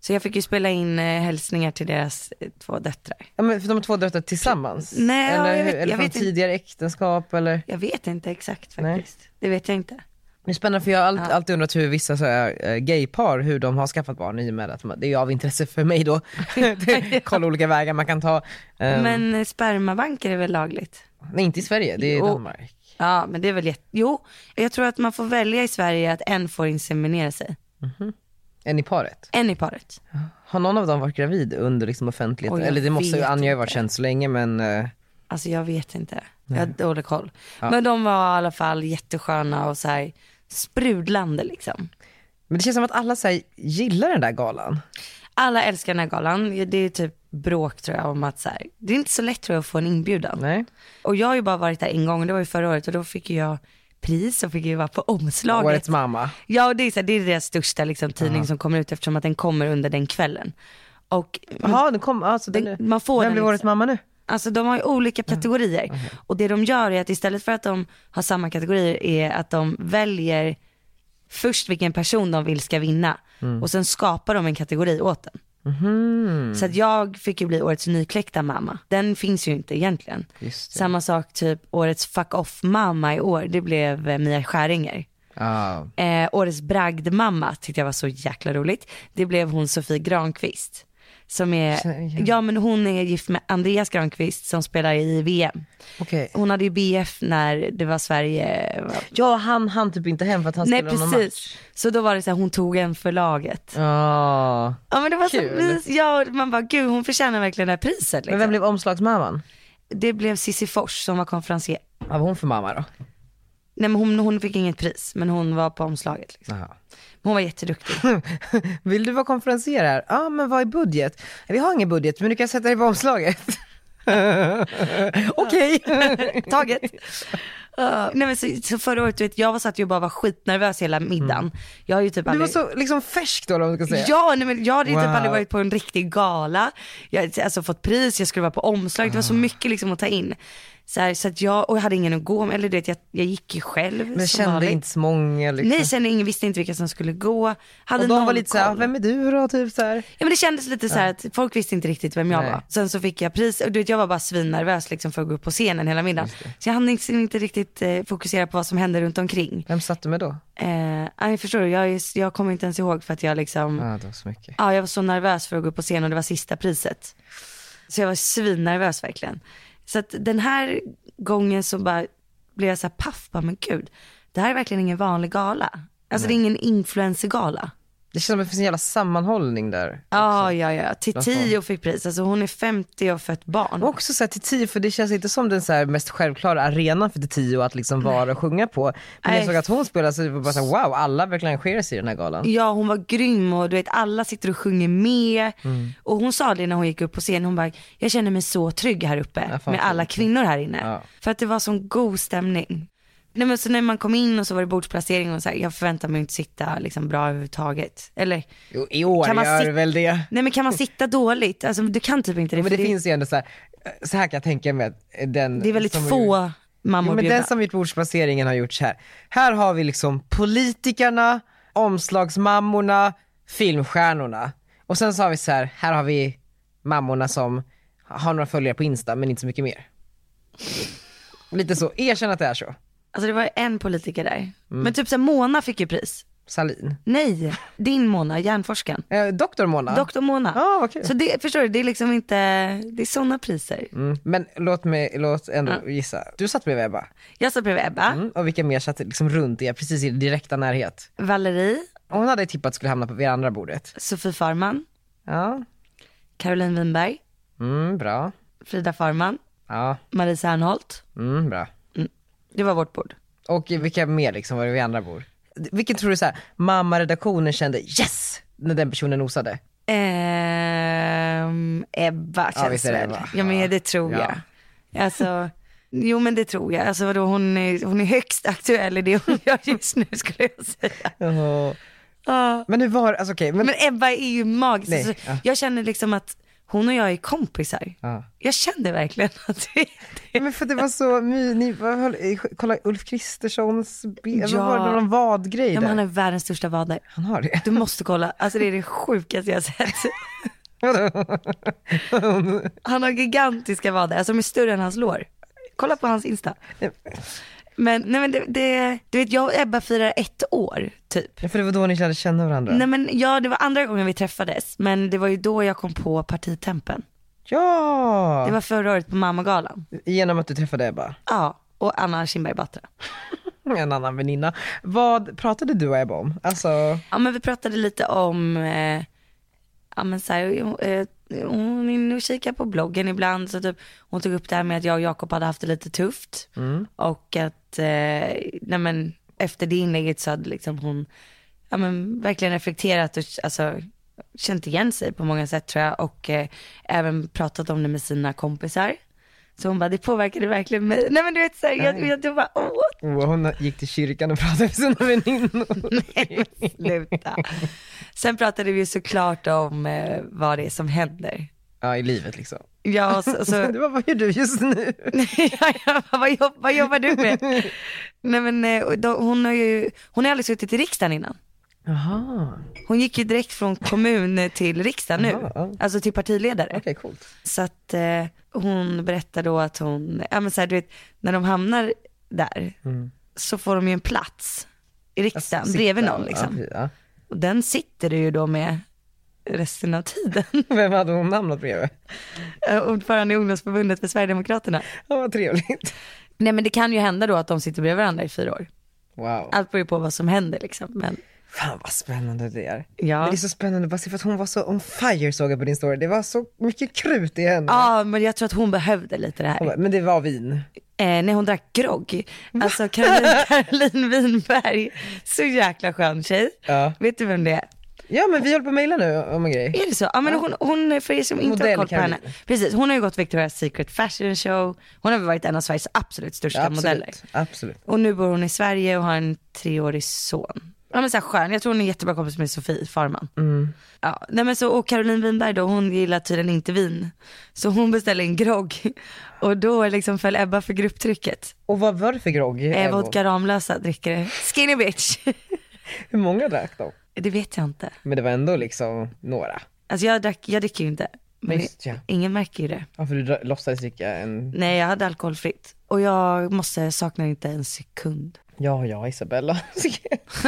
Speaker 2: så jag fick ju spela in eh, hälsningar till deras eh, två döttrar.
Speaker 1: Ja, men för de har två döttrar tillsammans?
Speaker 2: Nej, ja,
Speaker 1: eller
Speaker 2: jag
Speaker 1: hur-
Speaker 2: vet-
Speaker 1: eller
Speaker 2: jag
Speaker 1: från
Speaker 2: vet inte.
Speaker 1: tidigare äktenskap eller?
Speaker 2: Jag vet inte exakt
Speaker 1: Nej.
Speaker 2: faktiskt. Det vet jag inte.
Speaker 1: Det är spännande för jag har all- alltid undrat hur vissa så här, eh, gaypar, hur de har skaffat barn i och med att de- det är ju av intresse för mig då. Kolla olika vägar man kan ta. Eh,
Speaker 2: Men eh, spermabanker är väl lagligt?
Speaker 1: Nej inte i Sverige, det är i
Speaker 2: Jo.
Speaker 1: Danmark.
Speaker 2: Ja, men det är väl jätte... Jo, jag tror att man får välja i Sverige att en får inseminera sig.
Speaker 1: Än i paret.
Speaker 2: En i paret.
Speaker 1: Har någon av dem varit gravid under liksom offentligheten?
Speaker 2: Oj, jag
Speaker 1: eller det måste ju
Speaker 2: vet
Speaker 1: Anja har ju
Speaker 2: inte.
Speaker 1: varit känd så länge men eh,
Speaker 2: Alltså jag vet inte. Jag har dålig koll. Men de var i alla fall jättesköna och så här sprudlande liksom.
Speaker 1: Men det känns som att alla så här, gillar den där galan.
Speaker 2: Alla älskar den här galan. Det är typ bråk tror jag om att så här, det är inte så lätt tror jag att få en inbjudan.
Speaker 1: Nej.
Speaker 2: Och jag har ju bara varit där en gång, och det var ju förra året och då fick ju jag pris och fick ju vara på omslaget.
Speaker 1: Årets mamma.
Speaker 2: Ja och det är, så här, det är deras största liksom, tidning som kommer ut eftersom att den kommer under den kvällen. Och
Speaker 1: Jaha, den kom, alltså, den,
Speaker 2: Den- man får
Speaker 1: vem
Speaker 2: den
Speaker 1: blev
Speaker 2: liksom.
Speaker 1: årets mamma nu?
Speaker 2: Alltså de har ju olika
Speaker 1: Mm.
Speaker 2: kategorier. Och det de gör är att istället för att de har samma kategorier är att de väljer först vilken person de vill ska vinna.
Speaker 1: Mm.
Speaker 2: Och sen skapar de en kategori åt den.
Speaker 1: Mm-hmm.
Speaker 2: Så att jag fick ju bli årets nykläckta mamma. Den finns ju inte egentligen.
Speaker 1: Just det.
Speaker 2: Samma sak typ årets fuck off mamma i år, det blev eh, Mia Skäringer.
Speaker 1: Ja,
Speaker 2: Eh, årets bragdmamma tyckte jag var så jäkla roligt. Det blev hon Sofie Granqvist. Som är,
Speaker 1: Känner igen.
Speaker 2: ja men hon är gift med Andreas Granqvist som spelar i VM.
Speaker 1: okej.
Speaker 2: Hon hade ju BF när det var Sverige.
Speaker 1: Ja, han han typ inte hem för att han
Speaker 2: Nej
Speaker 1: skulle ha någon match.
Speaker 2: precis. Så då var det så här, hon tog en för laget.
Speaker 1: Ja.
Speaker 2: Ja men det var
Speaker 1: Kul.
Speaker 2: så mys, ja man bara gud hon förtjänar verkligen det här priset
Speaker 1: Men
Speaker 2: liksom.
Speaker 1: vem blev omslagsmamman?
Speaker 2: Det blev Cissi Fors som var konferencier.
Speaker 1: Vad var hon för mamma då?
Speaker 2: Nej men hon, hon fick inget pris men hon var på omslaget. Liksom.
Speaker 1: Jaha.
Speaker 2: Hon var jätteduktig.
Speaker 1: Vill du vara konferenser här? Ja, men vad är budget? Vi har ingen budget, men du kan sätta dig på omslaget.
Speaker 2: Okej, taget. Ja, nej men så, så förra året, du vet, jag var så att jag bara var skitnervös hela middagen. Jag har ju typ
Speaker 1: Mm. Du var
Speaker 2: aldrig...
Speaker 1: så liksom färsk då, eller vad man ska säga.
Speaker 2: Ja, nej, men jag hade ju typ
Speaker 1: Wow.
Speaker 2: aldrig varit på en riktig gala. Jag hade alltså, fått pris, jag skulle vara på omslag, det var
Speaker 1: Ah.
Speaker 2: så mycket liksom att ta in. Så, här, så att jag, och jag hade ingen att gå med, eller du vet, jag, jag gick ju själv
Speaker 1: Men jag
Speaker 2: som
Speaker 1: kände
Speaker 2: vanligt.
Speaker 1: inte så många liksom.
Speaker 2: Nej, kände ingen, visste inte vilka som skulle gå. Hade
Speaker 1: och de
Speaker 2: någon
Speaker 1: var lite såhär,
Speaker 2: koll.
Speaker 1: vem är du då? Typ såhär.
Speaker 2: Ja men det kändes lite så här att folk visste inte riktigt vem jag
Speaker 1: Nej.
Speaker 2: var. Sen så fick jag pris och du vet jag var bara svinnervös liksom för att gå upp på scenen hela middagen. Så jag hann inte, inte riktigt eh, fokusera på vad som hände runt omkring.
Speaker 1: Vem satt du med då?
Speaker 2: Eh, nej förstår du, jag, är- jag kommer inte ens ihåg för att jag liksom, ja.
Speaker 1: Ja, det var så mycket.
Speaker 2: jag var så nervös för att gå upp på scen och det var sista priset. Så jag var svinnervös verkligen. Så att den här gången så bara blev jag så här paff, bara men gud, det här är verkligen ingen vanlig gala. Alltså det är ingen influencergala.
Speaker 1: Det känns som att det finns en jävla sammanhållning där.
Speaker 2: Ja, ja, ja. Titio fick pris. Alltså hon är 50 och har fött barn.
Speaker 1: Och också såhär till tio, för det känns inte som den såhär mest självklara arenan för till tio att liksom vara och sjunga på. Men när jag
Speaker 2: Nej.
Speaker 1: såg att hon spelade så det var bara såhär, wow, alla verkligen engagerar sig i den här galan.
Speaker 2: Ja, hon var grym och du vet alla sitter och sjunger med.
Speaker 1: Mm.
Speaker 2: Och hon sa det när hon gick upp på scen, hon bara, jag känner mig så trygg här uppe
Speaker 1: Ja, fan,
Speaker 2: med
Speaker 1: fan.
Speaker 2: alla kvinnor här inne.
Speaker 1: Ja.
Speaker 2: För att det var sån god stämning. Nej, men så när man kom in och så var det bordsplacering och så här, jag förväntar mig inte sitta liksom bra överhuvudtaget. Eller,
Speaker 1: Jo, i år
Speaker 2: Kan man
Speaker 1: gör
Speaker 2: sit-
Speaker 1: väl det.
Speaker 2: nej men kan man sitta dåligt? Alltså du kan typ inte det.
Speaker 1: Men
Speaker 2: för
Speaker 1: det finns ju ändå såhär, så här kan jag tänka mig att den
Speaker 2: det är väldigt
Speaker 1: som-
Speaker 2: få mammor
Speaker 1: Jo, men
Speaker 2: bjudna.
Speaker 1: den som gjort bordsplaceringen har gjort så här. Här har vi liksom politikerna, omslagsmammorna, filmstjärnorna. Och sen så har vi så här, här har vi mammorna som har några följare på Insta men inte så mycket mer. Lite så, erkänn att det är så.
Speaker 2: Alltså det var en politiker där. Men
Speaker 1: Mm.
Speaker 2: typ så här, Mona fick ju pris.
Speaker 1: Salin.
Speaker 2: Nej, din Mona, hjärnforskaren.
Speaker 1: Eh, Doktor Mona.
Speaker 2: Doktor Mona.
Speaker 1: Ja, vad kul.
Speaker 2: Så det, förstår du, det är liksom inte, det är sådana priser.
Speaker 1: Mm. Men låt mig, låt ändå gissa. Du satt bredvid Ebba.
Speaker 2: Jag satt bredvid Ebba,
Speaker 1: Mm. Och vilka mer satt liksom runt er, precis i direkta närhet?
Speaker 2: Valerie,
Speaker 1: Och Hon hade tippat skulle hamna på det andra bordet.
Speaker 2: Sofie Farman,
Speaker 1: Ja,
Speaker 2: Caroline Winberg,
Speaker 1: mm, bra.
Speaker 2: Frida Farman,
Speaker 1: Ja,
Speaker 2: Marie Serneholt.
Speaker 1: mm, bra.
Speaker 2: Det var vårt bord.
Speaker 1: Och vilka mer liksom, var det vi andra bor? Vilken tror du såhär, mammaredaktionen kände yes! När den personen nosade.
Speaker 2: Ehm, Ebba
Speaker 1: Ja,
Speaker 2: känns
Speaker 1: visst är det
Speaker 2: väl.
Speaker 1: Ebba.
Speaker 2: Ja men
Speaker 1: Ja.
Speaker 2: det tror
Speaker 1: Ja.
Speaker 2: jag. Alltså, jo men det tror jag. Alltså vadå, hon är, hon är högst aktuell i det hon gör just nu skulle jag säga. Ja.
Speaker 1: Men hur var alltså okej, men,
Speaker 2: Men Ebba är ju magisk.
Speaker 1: Nej,
Speaker 2: Alltså,
Speaker 1: ja.
Speaker 2: Jag känner liksom att hon och jag är kompisar.
Speaker 1: Ja.
Speaker 2: Jag kände verkligen att vi
Speaker 1: men, för det var så my, ni vad höll, eh, kolla Ulf Kristerssons, ben,
Speaker 2: Ja.
Speaker 1: vad var det någon vadgrej
Speaker 2: ja,
Speaker 1: där?
Speaker 2: men han har världens största vader.
Speaker 1: Han har det.
Speaker 2: Du måste kolla, alltså det är det sjukaste jag har sett. Han har gigantiska vader, alltså de är större än hans lår. Kolla på hans Insta. Men, nej men det, det, du vet jag och Ebba firar ett år typ.
Speaker 1: Ja, för det var då ni lärde känna varandra.
Speaker 2: Nej men ja, det var andra gången vi träffades, men det var ju då jag kom på partitempen.
Speaker 1: Ja!
Speaker 2: Det var förra året på mammagalan.
Speaker 1: Genom att du träffade Ebba,
Speaker 2: Ja, och Anna Kinberg Batra.
Speaker 1: en annan väninna. Vad pratade du och Ebba om? Alltså,
Speaker 2: Ja men vi pratade lite om, eh, ja men så här, eh, hon är inne och kikar på bloggen ibland så typ hon tog upp det här med att jag och Jakob hade haft det lite tufft och att, eh, nej men efter det inlägget så hade liksom hon, ja men verkligen reflekterat och alltså känt igen sig på många sätt tror jag och eh, även pratat om det med sina kompisar. Så hon bara, det påverkade verkligen mig. Nej men du vet såhär, jag, jag, jag bara, åh
Speaker 1: oh, hon gick till kyrkan och pratade med sina väninnor.
Speaker 2: Nej, men sluta. Sen pratade vi ju såklart om eh, vad det är som händer.
Speaker 1: ja, i livet liksom.
Speaker 2: Ja, och så, så,
Speaker 1: Du bara, vad gör du just nu?
Speaker 2: ja, jag bara, vad, jobb, vad jobbar du med? Nej, men, eh, och då, hon har ju hon har aldrig suttit i riksdagen innan.
Speaker 1: Jaha,
Speaker 2: Hon gick ju direkt från kommun till riksdag nu,
Speaker 1: Jaha, ja.
Speaker 2: alltså till partiledare.
Speaker 1: okej coolt.
Speaker 2: Så att eh, hon berättar då att hon, ja men så här, du vet, när de hamnar där så får de ju en plats i riksdagen
Speaker 1: Mm. Alltså, Sitta,
Speaker 2: bredvid någon liksom.
Speaker 1: ja, ja.
Speaker 2: Och den sitter du ju då med resten av tiden.
Speaker 1: Vem hade hon namnat bredvid?
Speaker 2: Eh, Ordförande i ungdomsförbundet för Sverigedemokraterna.
Speaker 1: Ja, vad trevligt.
Speaker 2: Nej men det kan ju hända då att de sitter bredvid varandra i fyra år.
Speaker 1: Wow.
Speaker 2: Allt beror ju på vad som händer liksom. Men
Speaker 1: Fan vad spännande det är.
Speaker 2: Ja.
Speaker 1: Men det är så spännande bara se för att hon var så on fire såg jag på din story. Det var så mycket krut i henne.
Speaker 2: ja, men jag tror att hon behövde lite det
Speaker 1: Hon
Speaker 2: här.
Speaker 1: bara, Men det var vin.
Speaker 2: Eh, när hon drack grogg. Alltså Caroline, Caroline Winberg, så jäkla skön tjej.
Speaker 1: Ja.
Speaker 2: Vet du vem det är?
Speaker 1: Ja men vi håller på att mejla nu om en grej.
Speaker 2: Är det så? Ja men hon, hon för er som inte
Speaker 1: Modell
Speaker 2: har koll på
Speaker 1: Caroline.
Speaker 2: henne. Precis, hon har ju gått Victoria's Secret Fashion Show. Hon har väl varit en av Sveriges absolut största modeller.
Speaker 1: Absolut, absolut.
Speaker 2: Och nu bor hon i Sverige och har en treårig son. Ja men så här skön, jag tror hon är jättebra kompis med Sofie Farman.
Speaker 1: Mm.
Speaker 2: Ja, nej men så, och Caroline Winberg då, hon gillar tydligen inte vin. Så hon beställer en grogg. Och då liksom föll Ebba för grupptrycket.
Speaker 1: Och vad var det för grogg?
Speaker 2: Eh,
Speaker 1: Ebba?
Speaker 2: vodka Ramlösa dricker det. Skinny bitch.
Speaker 1: Hur många drack de?
Speaker 2: det vet jag inte.
Speaker 1: Men det var ändå liksom några.
Speaker 2: Alltså jag, drack, jag dricker ju inte. Men
Speaker 1: Visst, ja.
Speaker 2: ingen märker ju det.
Speaker 1: Ja för du dra- låtsades dricka en,
Speaker 2: Nej jag hade alkoholfritt. Och jag måste, saknar inte en sekund.
Speaker 1: ja ja Isabella.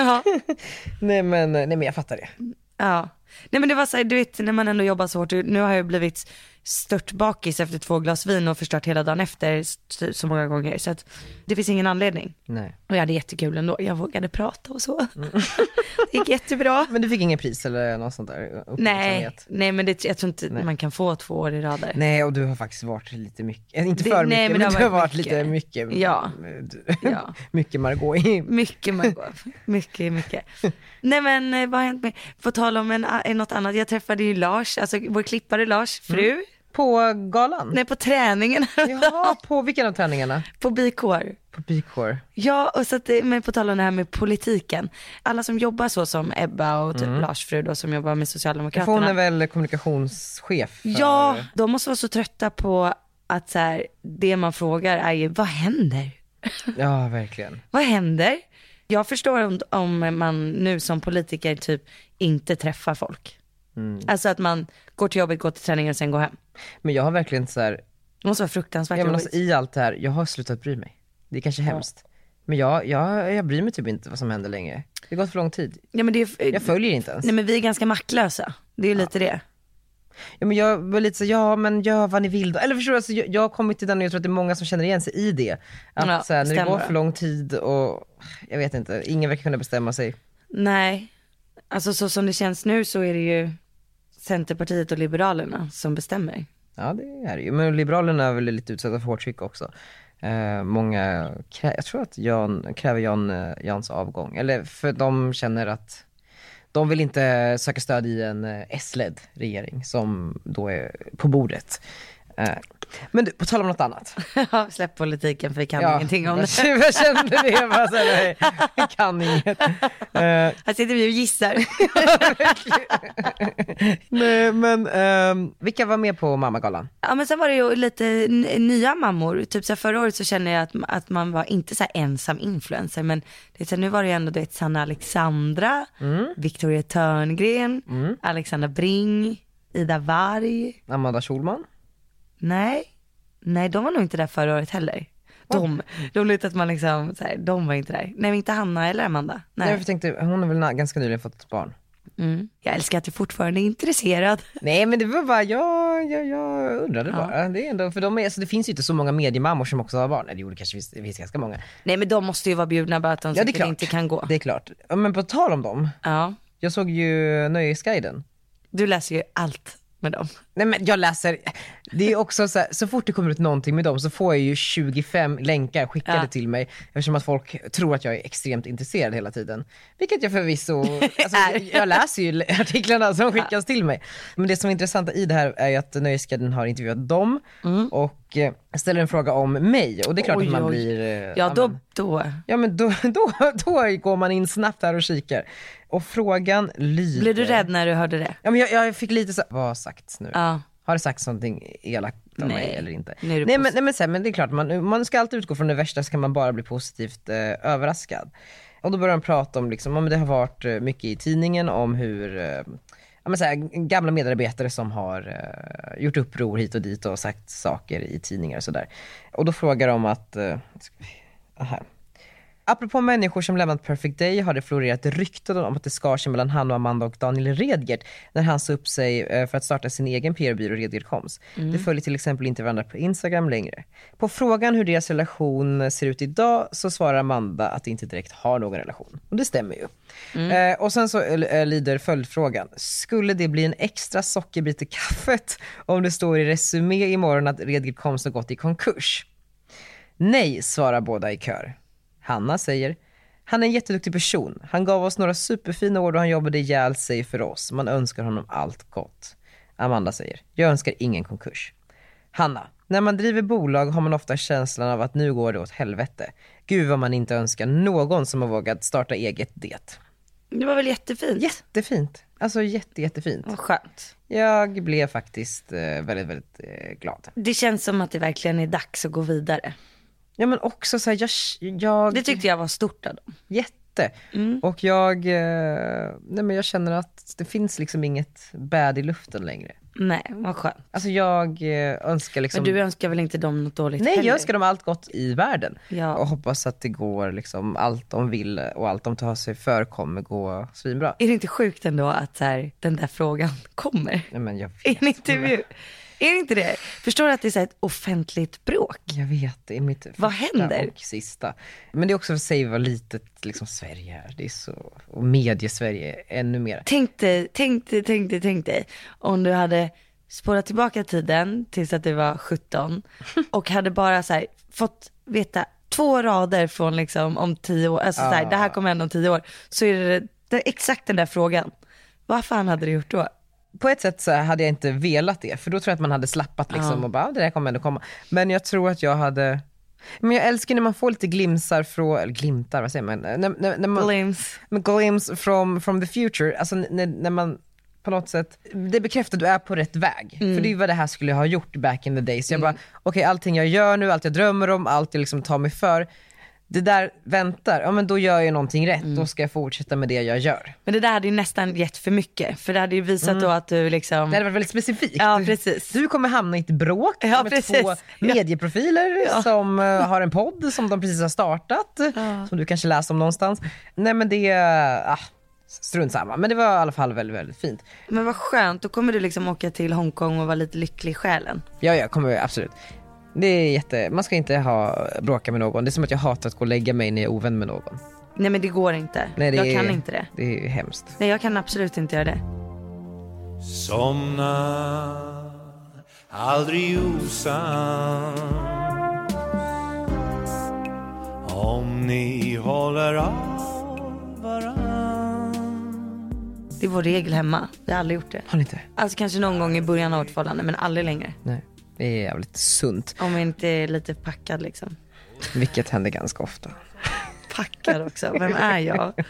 Speaker 1: nej, men, nej men jag fattar det.
Speaker 2: Ja. Nej men det var så här, du vet när man ändå jobbar så hårt, nu har jag blivit stört bakis efter två glas vin och förstört hela dagen efter så- så många gånger. Så att det finns ingen anledning. Mm.
Speaker 1: Nej.
Speaker 2: Och jag hade jättekul ändå, jag vågade prata och så. Det gick jättebra.
Speaker 1: Men du fick inget pris eller något sånt där?
Speaker 2: Nej,
Speaker 1: uppmärksamhet?
Speaker 2: nej men det, jag tror inte man kan få två år i rad där.
Speaker 1: Nej och du har faktiskt varit lite mycket, eh, inte
Speaker 2: Det-
Speaker 1: för
Speaker 2: nej,
Speaker 1: mycket
Speaker 2: men
Speaker 1: men,
Speaker 2: det
Speaker 1: du
Speaker 2: har
Speaker 1: har
Speaker 2: varit
Speaker 1: varit lite mycket,
Speaker 2: Ja. Ja.
Speaker 1: mycket Margot i
Speaker 2: Mycket Margot, mycket, mycket. Nej men eh, vad har hänt med, på tal om en, a- något annat, jag träffade ju Lars, alltså vår klippare Lars fru,
Speaker 1: På galan?
Speaker 2: nej på träningen
Speaker 1: Jaha, på vilken av träningarna?
Speaker 2: på BKR.
Speaker 1: På Bikår.
Speaker 2: Ja, och så att, det- men på tal om det här med politiken. Alla som jobbar så som Ebba och typ Lars fru då, som
Speaker 1: Mm. För
Speaker 2: jobbar med
Speaker 1: hon är
Speaker 2: Socialdemokraterna.
Speaker 1: väl kommunikationschef? För...
Speaker 2: Ja, de måste vara så trötta på att så här, det man frågar är ju vad händer?
Speaker 1: Ja, verkligen.
Speaker 2: Vad händer? Jag förstår om, om man nu som politiker typ inte träffar folk.
Speaker 1: Mm.
Speaker 2: Alltså att man går till jobbet, går till träningen och sen går hem.
Speaker 1: Men jag har verkligen så här,
Speaker 2: Det måste vara fruktansvärt
Speaker 1: ja, men alltså,
Speaker 2: jobbigt.
Speaker 1: i allt det här, jag har slutat bry mig. Det är kanske hemskt. Men jag, jag, jag bryr mig typ inte vad som händer längre. Det har gått för lång tid.
Speaker 2: Ja, men det är,
Speaker 1: Jag följer inte ens.
Speaker 2: Nej men vi är ganska maktlösa. Det är ju lite det.
Speaker 1: Ja, men jag var lite så, ja men gör vad ni vill då. Eller förstår du, alltså, jag, jag har kommit till den och jag tror att det är många som känner igen sig i det. Att
Speaker 2: Ja,
Speaker 1: så här, när det
Speaker 2: stämmer
Speaker 1: går
Speaker 2: det.
Speaker 1: för lång tid och jag vet inte, ingen verkar kunna bestämma sig.
Speaker 2: Nej, alltså så som det känns nu så är det ju Centerpartiet och Liberalerna som bestämmer.
Speaker 1: Ja det är det ju. Men Liberalerna är väl lite utsatta för hårt tryck också. Eh, många, krä- jag tror att Jan, kräver Jan, eh, Jans avgång. Eller för de känner att de vill inte söka stöd i en eh, S-ledd regering som då är på bordet. Eh, men du, på tal om något annat.
Speaker 2: Ja, Släpp politiken för vi kan ingenting om det.
Speaker 1: jag, Jag kände det, jag bara så här, nej, jag kan inget. Eh,
Speaker 2: Här sitter vi och gissar.
Speaker 1: nej men, ehm, vilka var med på mammagalan?
Speaker 2: Ja men sen var det ju lite n- nya mammor. Typ så här, förra året så kände jag att, att man var inte så här ensam influencer men det, är så här, nu var det ju ändå du vet Sanna Alexandra, Victoria Törngren, Alexandra Bring, Ida Warg.
Speaker 1: Amanda Schulman?
Speaker 2: Nej, nej de var nog inte där förra året heller. De, de lät att man liksom, så här, de var inte där. Nej men inte Hanna eller Amanda.
Speaker 1: Nej.
Speaker 2: Nej.
Speaker 1: Jag tänkte, hon har väl na- ganska nyligen fått ett barn?
Speaker 2: Mm. Jag älskar att du fortfarande är intresserad.
Speaker 1: Nej men det var bara, jag, jag, jag undrade bara. Det, är ändå, för de är, så det finns ju inte så många mediemammor som också har barn. Eller jo det kanske finns, det finns ganska många.
Speaker 2: Nej men de måste ju vara bjudna bara att de
Speaker 1: Ja det är
Speaker 2: säkert
Speaker 1: klart.
Speaker 2: inte kan gå.
Speaker 1: Det är klart. Ja, Men på tal om dem,
Speaker 2: Ja,
Speaker 1: jag såg ju Nöjesguiden.
Speaker 2: du läser ju allt med dem.
Speaker 1: Nej men jag läser, det är också så, här, så fort det kommer ut någonting med dem så får jag ju 25 länkar skickade
Speaker 2: Ja.
Speaker 1: till mig eftersom att folk tror att jag är extremt intresserad hela tiden. Vilket jag förvisso, alltså,
Speaker 2: Är.
Speaker 1: jag, jag läser ju artiklarna som skickas till mig. Men det som är intressant i det här är ju att Nöjesguiden har intervjuat dem och eh, ställer en fråga om mig och det är klart
Speaker 2: Mm. Oj,
Speaker 1: att man
Speaker 2: oj.
Speaker 1: blir... eh,
Speaker 2: Ja då,
Speaker 1: men-
Speaker 2: då.
Speaker 1: ja men då, då, då går man in snabbt där och kikar. Och frågan lyder...
Speaker 2: Blev du rädd när du hörde det?
Speaker 1: Ja men jag, jag fick lite så, vad har sagts nu?
Speaker 2: Ja.
Speaker 1: Har det sagts någonting elakt om
Speaker 2: Nej.
Speaker 1: mig eller inte?
Speaker 2: Nu är
Speaker 1: Nej
Speaker 2: du
Speaker 1: men,
Speaker 2: positiv.
Speaker 1: nej men, så här, men det är klart, man, man ska alltid utgå från det värsta så kan man bara bli positivt eh, överraskad. Och då börjar han prata om, liksom, om det har varit eh, mycket i tidningen om hur eh, ja, men så här, gamla medarbetare som har eh, gjort uppror hit och dit och sagt saker i tidningar och sådär. Och då frågar de att, eh, ska vi- här. Apropå människor som lämnat Perfect Day har det florerat rykten om att det skar sig mellan han och Amanda och Daniel Redgert när han sa upp sig eh, för att starta sin egen PR-byrå Redgert Koms. De följer till exempel inte varandra på Instagram längre. På frågan hur deras relation ser ut idag så svarar Amanda att de inte direkt har någon relation. Och det stämmer ju. Eh, och sen så eh, lyder följdfrågan. Skulle det bli en extra sockerbit i kaffet om det står i Resumé imorgon att Redgert Koms har gått i konkurs? Nej, svarar båda i kör. Hanna säger, Han är en jätteduktig person. Han gav oss några superfina år då han jobbade ihjäl sig för oss. Man önskar honom allt gott. Amanda säger, jag önskar ingen konkurs. Hanna, när man driver bolag har man ofta känslan av att nu går det åt helvete. Gud vad man inte önskar någon som har vågat starta eget det.
Speaker 2: Det var väl jättefint?
Speaker 1: Jättefint. Alltså jätte, jättefint.
Speaker 2: Vad skönt.
Speaker 1: Jag blev faktiskt eh, väldigt, väldigt eh, glad.
Speaker 2: Det känns som att det verkligen är dags att gå vidare.
Speaker 1: Ja men också så här, jag, jag...
Speaker 2: Det tyckte jag var stort av dem.
Speaker 1: jätte.
Speaker 2: Mm.
Speaker 1: Och jag, eh, nej men jag känner att det finns liksom inget bad i luften längre.
Speaker 2: Nej, vad skönt.
Speaker 1: Alltså jag eh, önskar liksom...
Speaker 2: Men du önskar väl inte dem något dåligt
Speaker 1: Nej
Speaker 2: heller?
Speaker 1: jag önskar dem allt gott i världen.
Speaker 2: Ja.
Speaker 1: Och hoppas att det går liksom, allt de vill och allt de tar sig för kommer gå svinbra.
Speaker 2: Är det inte sjukt ändå att så här, den där frågan kommer?
Speaker 1: Nej men jag vet.
Speaker 2: I en intervju. Är det inte det? Förstår du att det är så här ett offentligt bråk?
Speaker 1: Jag vet, det är mitt
Speaker 2: Vad
Speaker 1: första
Speaker 2: händer?
Speaker 1: och sista. Men det är också för att säga vad litet liksom, Sverige är. Det är så, och mediesverige ännu mer.
Speaker 2: Tänk dig, tänk dig, tänk dig, tänk dig om du hade spårat tillbaka tiden tills att du var 17 och hade bara så här, fått veta två rader från liksom om tio år, alltså så här,
Speaker 1: Ah.
Speaker 2: det här kommer hända om tio år, så är det, det är exakt den där frågan. Vad fan hade du gjort då?
Speaker 1: på ett sätt så hade jag inte velat det, för då tror jag att man hade slappat liksom och bara, "Ah, det där kommer ändå komma. Men jag tror att jag hade, men jag älskar när man får lite glimsar från, eller glimtar, vad säger man? När, när, när man
Speaker 2: Glims.
Speaker 1: men glimpse from, from the future, alltså n- när, när man på något sätt, det bekräftar att du är på rätt väg. För det är ju vad det här skulle ha gjort back in the days. Jag bara, okej allting jag gör nu, allt jag drömmer om, allt jag liksom tar mig för, det där väntar, ja men då gör jag någonting rätt, då ska jag fortsätta med det jag gör.
Speaker 2: Men det där hade ju nästan gett för mycket, för det hade ju visat då att du liksom,
Speaker 1: Mm. Det hade varit väldigt specifikt.
Speaker 2: Ja, precis.
Speaker 1: Du kommer hamna i ett bråk
Speaker 2: Ja,
Speaker 1: med
Speaker 2: precis.
Speaker 1: två
Speaker 2: Ja.
Speaker 1: medieprofiler som eh, har en podd som de precis har startat. Som du kanske läser om någonstans. Nej men det, eh, ah, strunt samma. Men det var i alla fall väldigt, väldigt fint.
Speaker 2: men vad skönt, då kommer du liksom åka till Hongkong och vara lite lycklig i själen.
Speaker 1: Ja, jag kommer absolut. Det är jätte, man ska inte ha, bråka med någon. Det är som att jag hatar att gå och lägga mig när jag är ovän med någon.
Speaker 2: Nej men det går inte,
Speaker 1: Nej, det
Speaker 2: jag
Speaker 1: är,
Speaker 2: kan inte det.
Speaker 1: Det är hemskt.
Speaker 2: Nej jag kan absolut inte göra det.
Speaker 3: Somna aldrig osams Om ni håller av varann
Speaker 2: Det är vår regel hemma. Vi har aldrig gjort det.
Speaker 1: Har ni inte?
Speaker 2: Alltså kanske någon gång i början av vårt förhållande men aldrig längre.
Speaker 1: Nej. Det är jävligt sunt.
Speaker 2: Om jag inte är lite packad liksom.
Speaker 1: Vilket händer ganska ofta.
Speaker 2: Packad också, vem är jag? Nu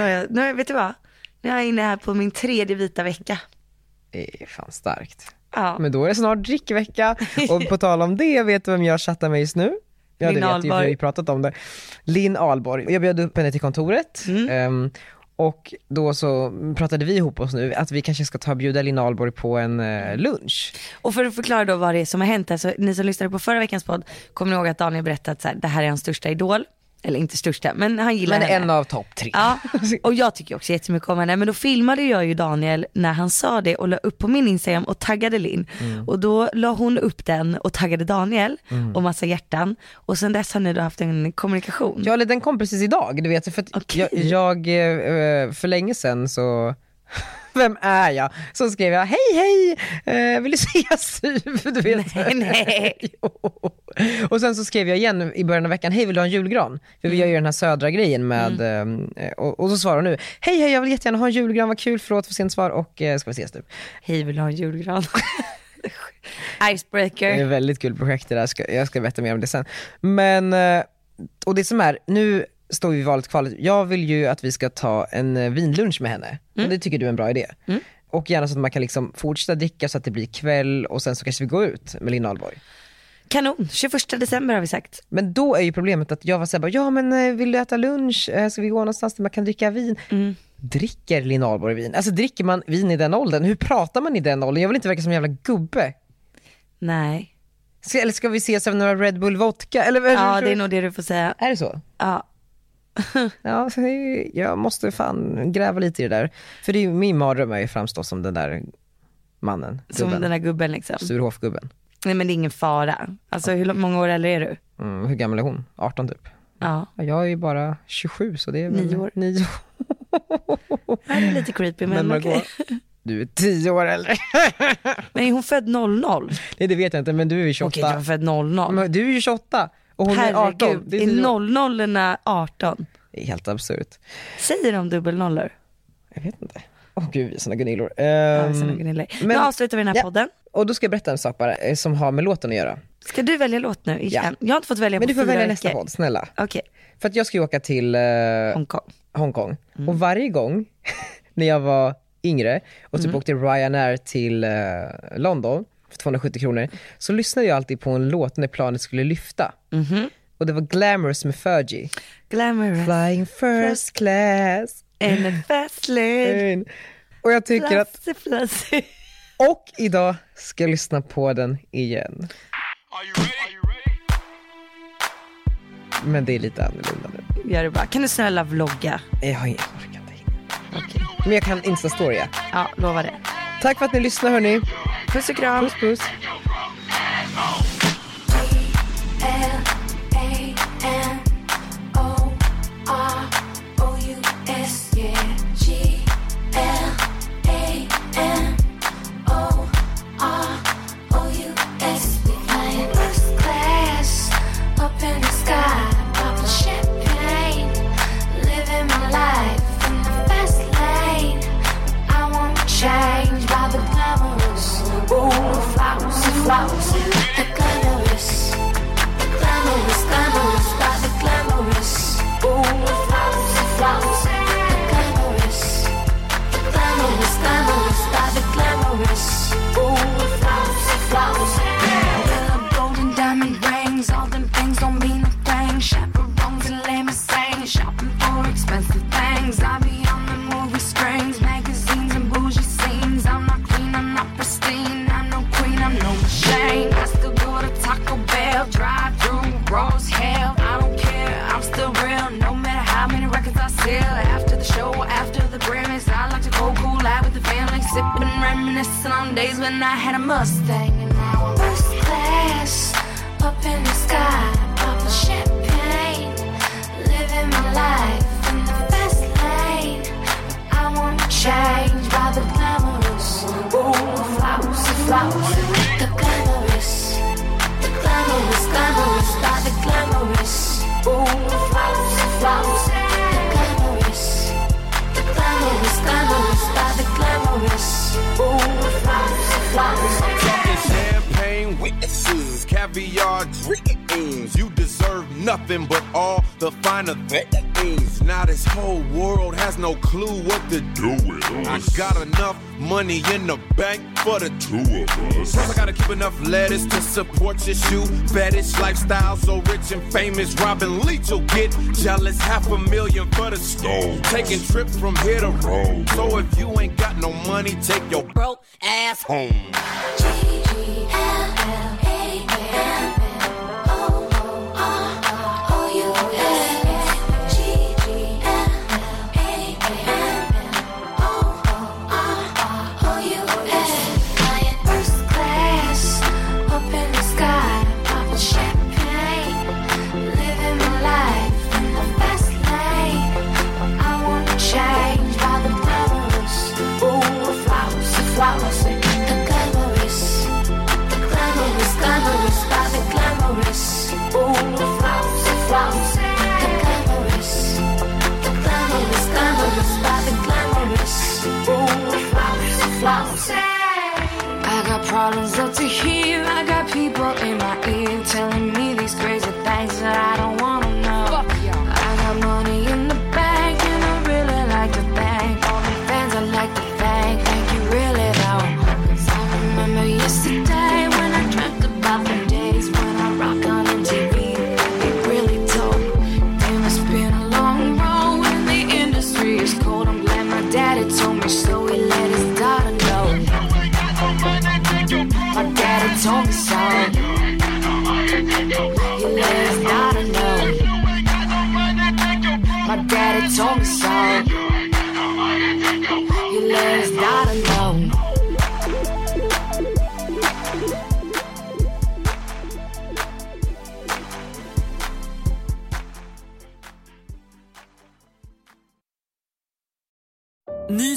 Speaker 2: är jag, nu är, vet du vad? Nu är jag inne här på min tredje vita vecka.
Speaker 1: Det är fan starkt.
Speaker 2: Ja.
Speaker 1: Men då är det snart drickvecka. Och på tal om det, vet du vem jag chattar med just nu? Ja, det
Speaker 2: Linn
Speaker 1: vet du, för vi har
Speaker 2: Ahlborg.
Speaker 1: ju pratat om det. Linn Ahlborg. Jag bjöd upp henne till kontoret.
Speaker 2: Mm.
Speaker 1: ehm, och då så pratade vi ihop oss nu att vi kanske ska ta och bjuda Linn Ahlborg på en eh, lunch.
Speaker 2: Och för att förklara då vad det är som har hänt, alltså, ni som lyssnade på förra veckans podd kommer ni ihåg att Daniel berättade att så här, det här är hans största idol. Eller inte största, men han gillar
Speaker 1: Men
Speaker 2: henne.
Speaker 1: en av topp tre.
Speaker 2: Ja, och jag tycker också jättemycket om henne. Men då filmade jag ju Daniel när han sa det och la upp på min Instagram och taggade Linn. Och då la hon upp den och taggade Daniel och massa hjärtan. Och sen dess har ni då haft en kommunikation.
Speaker 1: Ja, eller den kom precis idag. Du vet, för att
Speaker 2: Mm. Okej.
Speaker 1: jag, jag, eh, för länge sedan så, vem är jag? Så skrev jag, hej hej, eh, vill du ses? För du vet.
Speaker 2: Nej, nej.
Speaker 1: Jo. Och sen så skrev jag igen i början av veckan, hej vill du ha en julgran? För vi gör ju
Speaker 2: Mm.
Speaker 1: den här södra grejen med, eh, och, och så svarar hon nu, hej hej jag vill jättegärna ha en julgran, vad kul, förlåt för sent svar och eh, ska vi ses typ.
Speaker 2: Hej, vill du ha en julgran?
Speaker 1: Det är
Speaker 2: Icebreaker.
Speaker 1: ett väldigt kul projekt det där, Ska- jag ska berätta mer om det sen. Men, eh, och det som är, nu står vi i valet och kvalet. Jag vill ju att vi ska ta en eh, vinlunch med henne.
Speaker 2: Mm.
Speaker 1: Och det tycker du är en bra idé. Och gärna så att man kan liksom fortsätta dricka så att det blir kväll och sen så kanske vi går ut med Linn Ahlborg.
Speaker 2: Kanon, 21 december har vi sagt.
Speaker 1: Men då är ju problemet att jag var såhär, bara, ja men eh, vill du äta lunch? Eh, Ska vi gå någonstans där man kan dricka vin?
Speaker 2: Mm.
Speaker 1: Dricker Linn Ahlborg vin? Alltså dricker man vin i den åldern? Hur pratar man i den åldern? Jag vill inte verka som en jävla gubbe.
Speaker 2: Nej.
Speaker 1: Ska, eller ska vi ses över några Red Bull vodka? Eller,
Speaker 2: Ja, det är nog det du får säga.
Speaker 1: Är det så?
Speaker 2: Ja.
Speaker 1: Ja, så det- jag måste fan gräva lite i det där. För det är ju, min mardröm är ju att framstå som den där mannen,
Speaker 2: Som
Speaker 1: gubben,
Speaker 2: den här gubben liksom.
Speaker 1: Surhofgubben.
Speaker 2: Nej men det är ingen fara. Alltså hur lång- många år äldre är du?
Speaker 1: Mm, hur gammal är hon? 18 typ.
Speaker 2: Ja.
Speaker 1: Ja, Jag är ju bara 27 så det är väl
Speaker 2: Nio år.
Speaker 1: Nio år.
Speaker 2: Det är lite creepy men,
Speaker 1: Men
Speaker 2: men
Speaker 1: Margot- Du är 10 år äldre.
Speaker 2: Men är hon född 00?
Speaker 1: Nej det vet jag inte men du är ju
Speaker 2: Okej,
Speaker 1: 28.
Speaker 2: jag var född 00.
Speaker 1: Men du är ju 28 och hon är 18.
Speaker 2: Herregud,
Speaker 1: Det
Speaker 2: är
Speaker 1: tio år.
Speaker 2: 00 erna 18?
Speaker 1: Det är helt absurt.
Speaker 2: Säger de dubbelnollor?
Speaker 1: Jag vet inte. Åh gud, vi är såna Gunillor.
Speaker 2: Ja,
Speaker 1: Ehm,
Speaker 2: sina Gunilla. nu
Speaker 1: men-
Speaker 2: avslutar vi den här
Speaker 1: Ja.
Speaker 2: podden.
Speaker 1: och då ska jag berätta en sak bara, eh, som har med låten att göra.
Speaker 2: Ska du välja låt nu igen? Jag har inte fått välja
Speaker 1: Men
Speaker 2: på
Speaker 1: du får
Speaker 2: fyra
Speaker 1: välja nästa
Speaker 2: veckor.
Speaker 1: podd, snälla.
Speaker 2: Okej,
Speaker 1: För att jag ska ju åka till eh,
Speaker 2: Hongkong.
Speaker 1: Hongkong. Och varje gång när jag var yngre och typ åkte Ryanair till eh, London för 270 kronor så lyssnade jag alltid på en låt när planet skulle lyfta. Och det var Glamorous med Fergie.
Speaker 2: Glamorous
Speaker 1: Flying first class.
Speaker 2: and a fast lane.
Speaker 1: in. Och jag tycker att,
Speaker 2: Flashy, flashy.
Speaker 1: och idag ska jag lyssna på den igen. Men det är lite annorlunda nu.
Speaker 2: Gör det bra. Kan du snälla vlogga?
Speaker 1: Jag har ingen orkat inte. Men jag kan instastorya.
Speaker 2: Ja, lova det.
Speaker 1: Tack för att ni lyssnar hörni.
Speaker 2: Puss och kram.
Speaker 1: Puss puss.
Speaker 4: L-A-N-O-R-O-U-S, yeah. G-L-A-N-O-R-O-U-S. We flying first class up in the sky, popping champagne, living my life in the fast lane. I want to change by the glamorous, ooh, flowers, flowers, the glamorous. Glamorous, glamorous, by the glamorous. Ooh, flowers, flowers, the glamorous. The glamorous, glamorous, by the glamorous. Ooh, flowers, flowers. Well, I'm golden diamond rings, all them things don't mean a thing. Chaperones and limousine, shopping for expensive things. I be on the movie screens, magazines and bougie scenes. I'm not clean, I'm not pristine, I'm no queen, I'm no shame. I still go to Taco Bell, drive through Rose Hill. I don't care, I'm still real. No matter how many records I sell. After the show, after the Grammys, I like to go Oh, cool out with the family, sipping, reminiscing on days when I had a Mustang. And now I'm first class, up in the sky, popping champagne, living my life in the fast lane. I wanna change by the glamorous, ooh, flowers, flowers, the glamorous. The glamorous, glamorous, by the glamorous. Ooh, flowers, flowers, the glamorous. The glamorous, glamorous, by the glamorous. Ooh, flowers, flowers.
Speaker 5: champagne with the scenes, caviar dreams. You deserve nothing but all the finer things. Now this whole world has no clue what to do with us. I got enough money in the bank for the two of us. Plus I gotta keep enough lettuce to support your shoe fetish lifestyle. So rich and famous, Robin Leach will get jealous. Half a million for the stove. Taking trips from here to Rome. So if you ain't got no money, take your broke ass home.
Speaker 4: Change by the glamorous, ooh, flowers, flowers, the glamorous. The glamorous, glamorous, by the glamorous. Ooh, flowers, flowers, the glamorous. The glamorous, glamorous, by the glamorous. Ooh, flowers, flowers. I got problems up to here. I got people in my ear telling me these crazy things that I don't wanna know. I got money in the bank and I really like to thank all the fans. I like to thank, thank you really though. 'Cause I remember yesterday when I dreamt about the days when I rock on MTV. It really told Damn, it's been a long road and the industry is cold. I'm glad my daddy told me so. He let his daughter know. My daddy told me so. He let his daughter know. My daddy told me so. He let his daughter know.
Speaker 6: Ny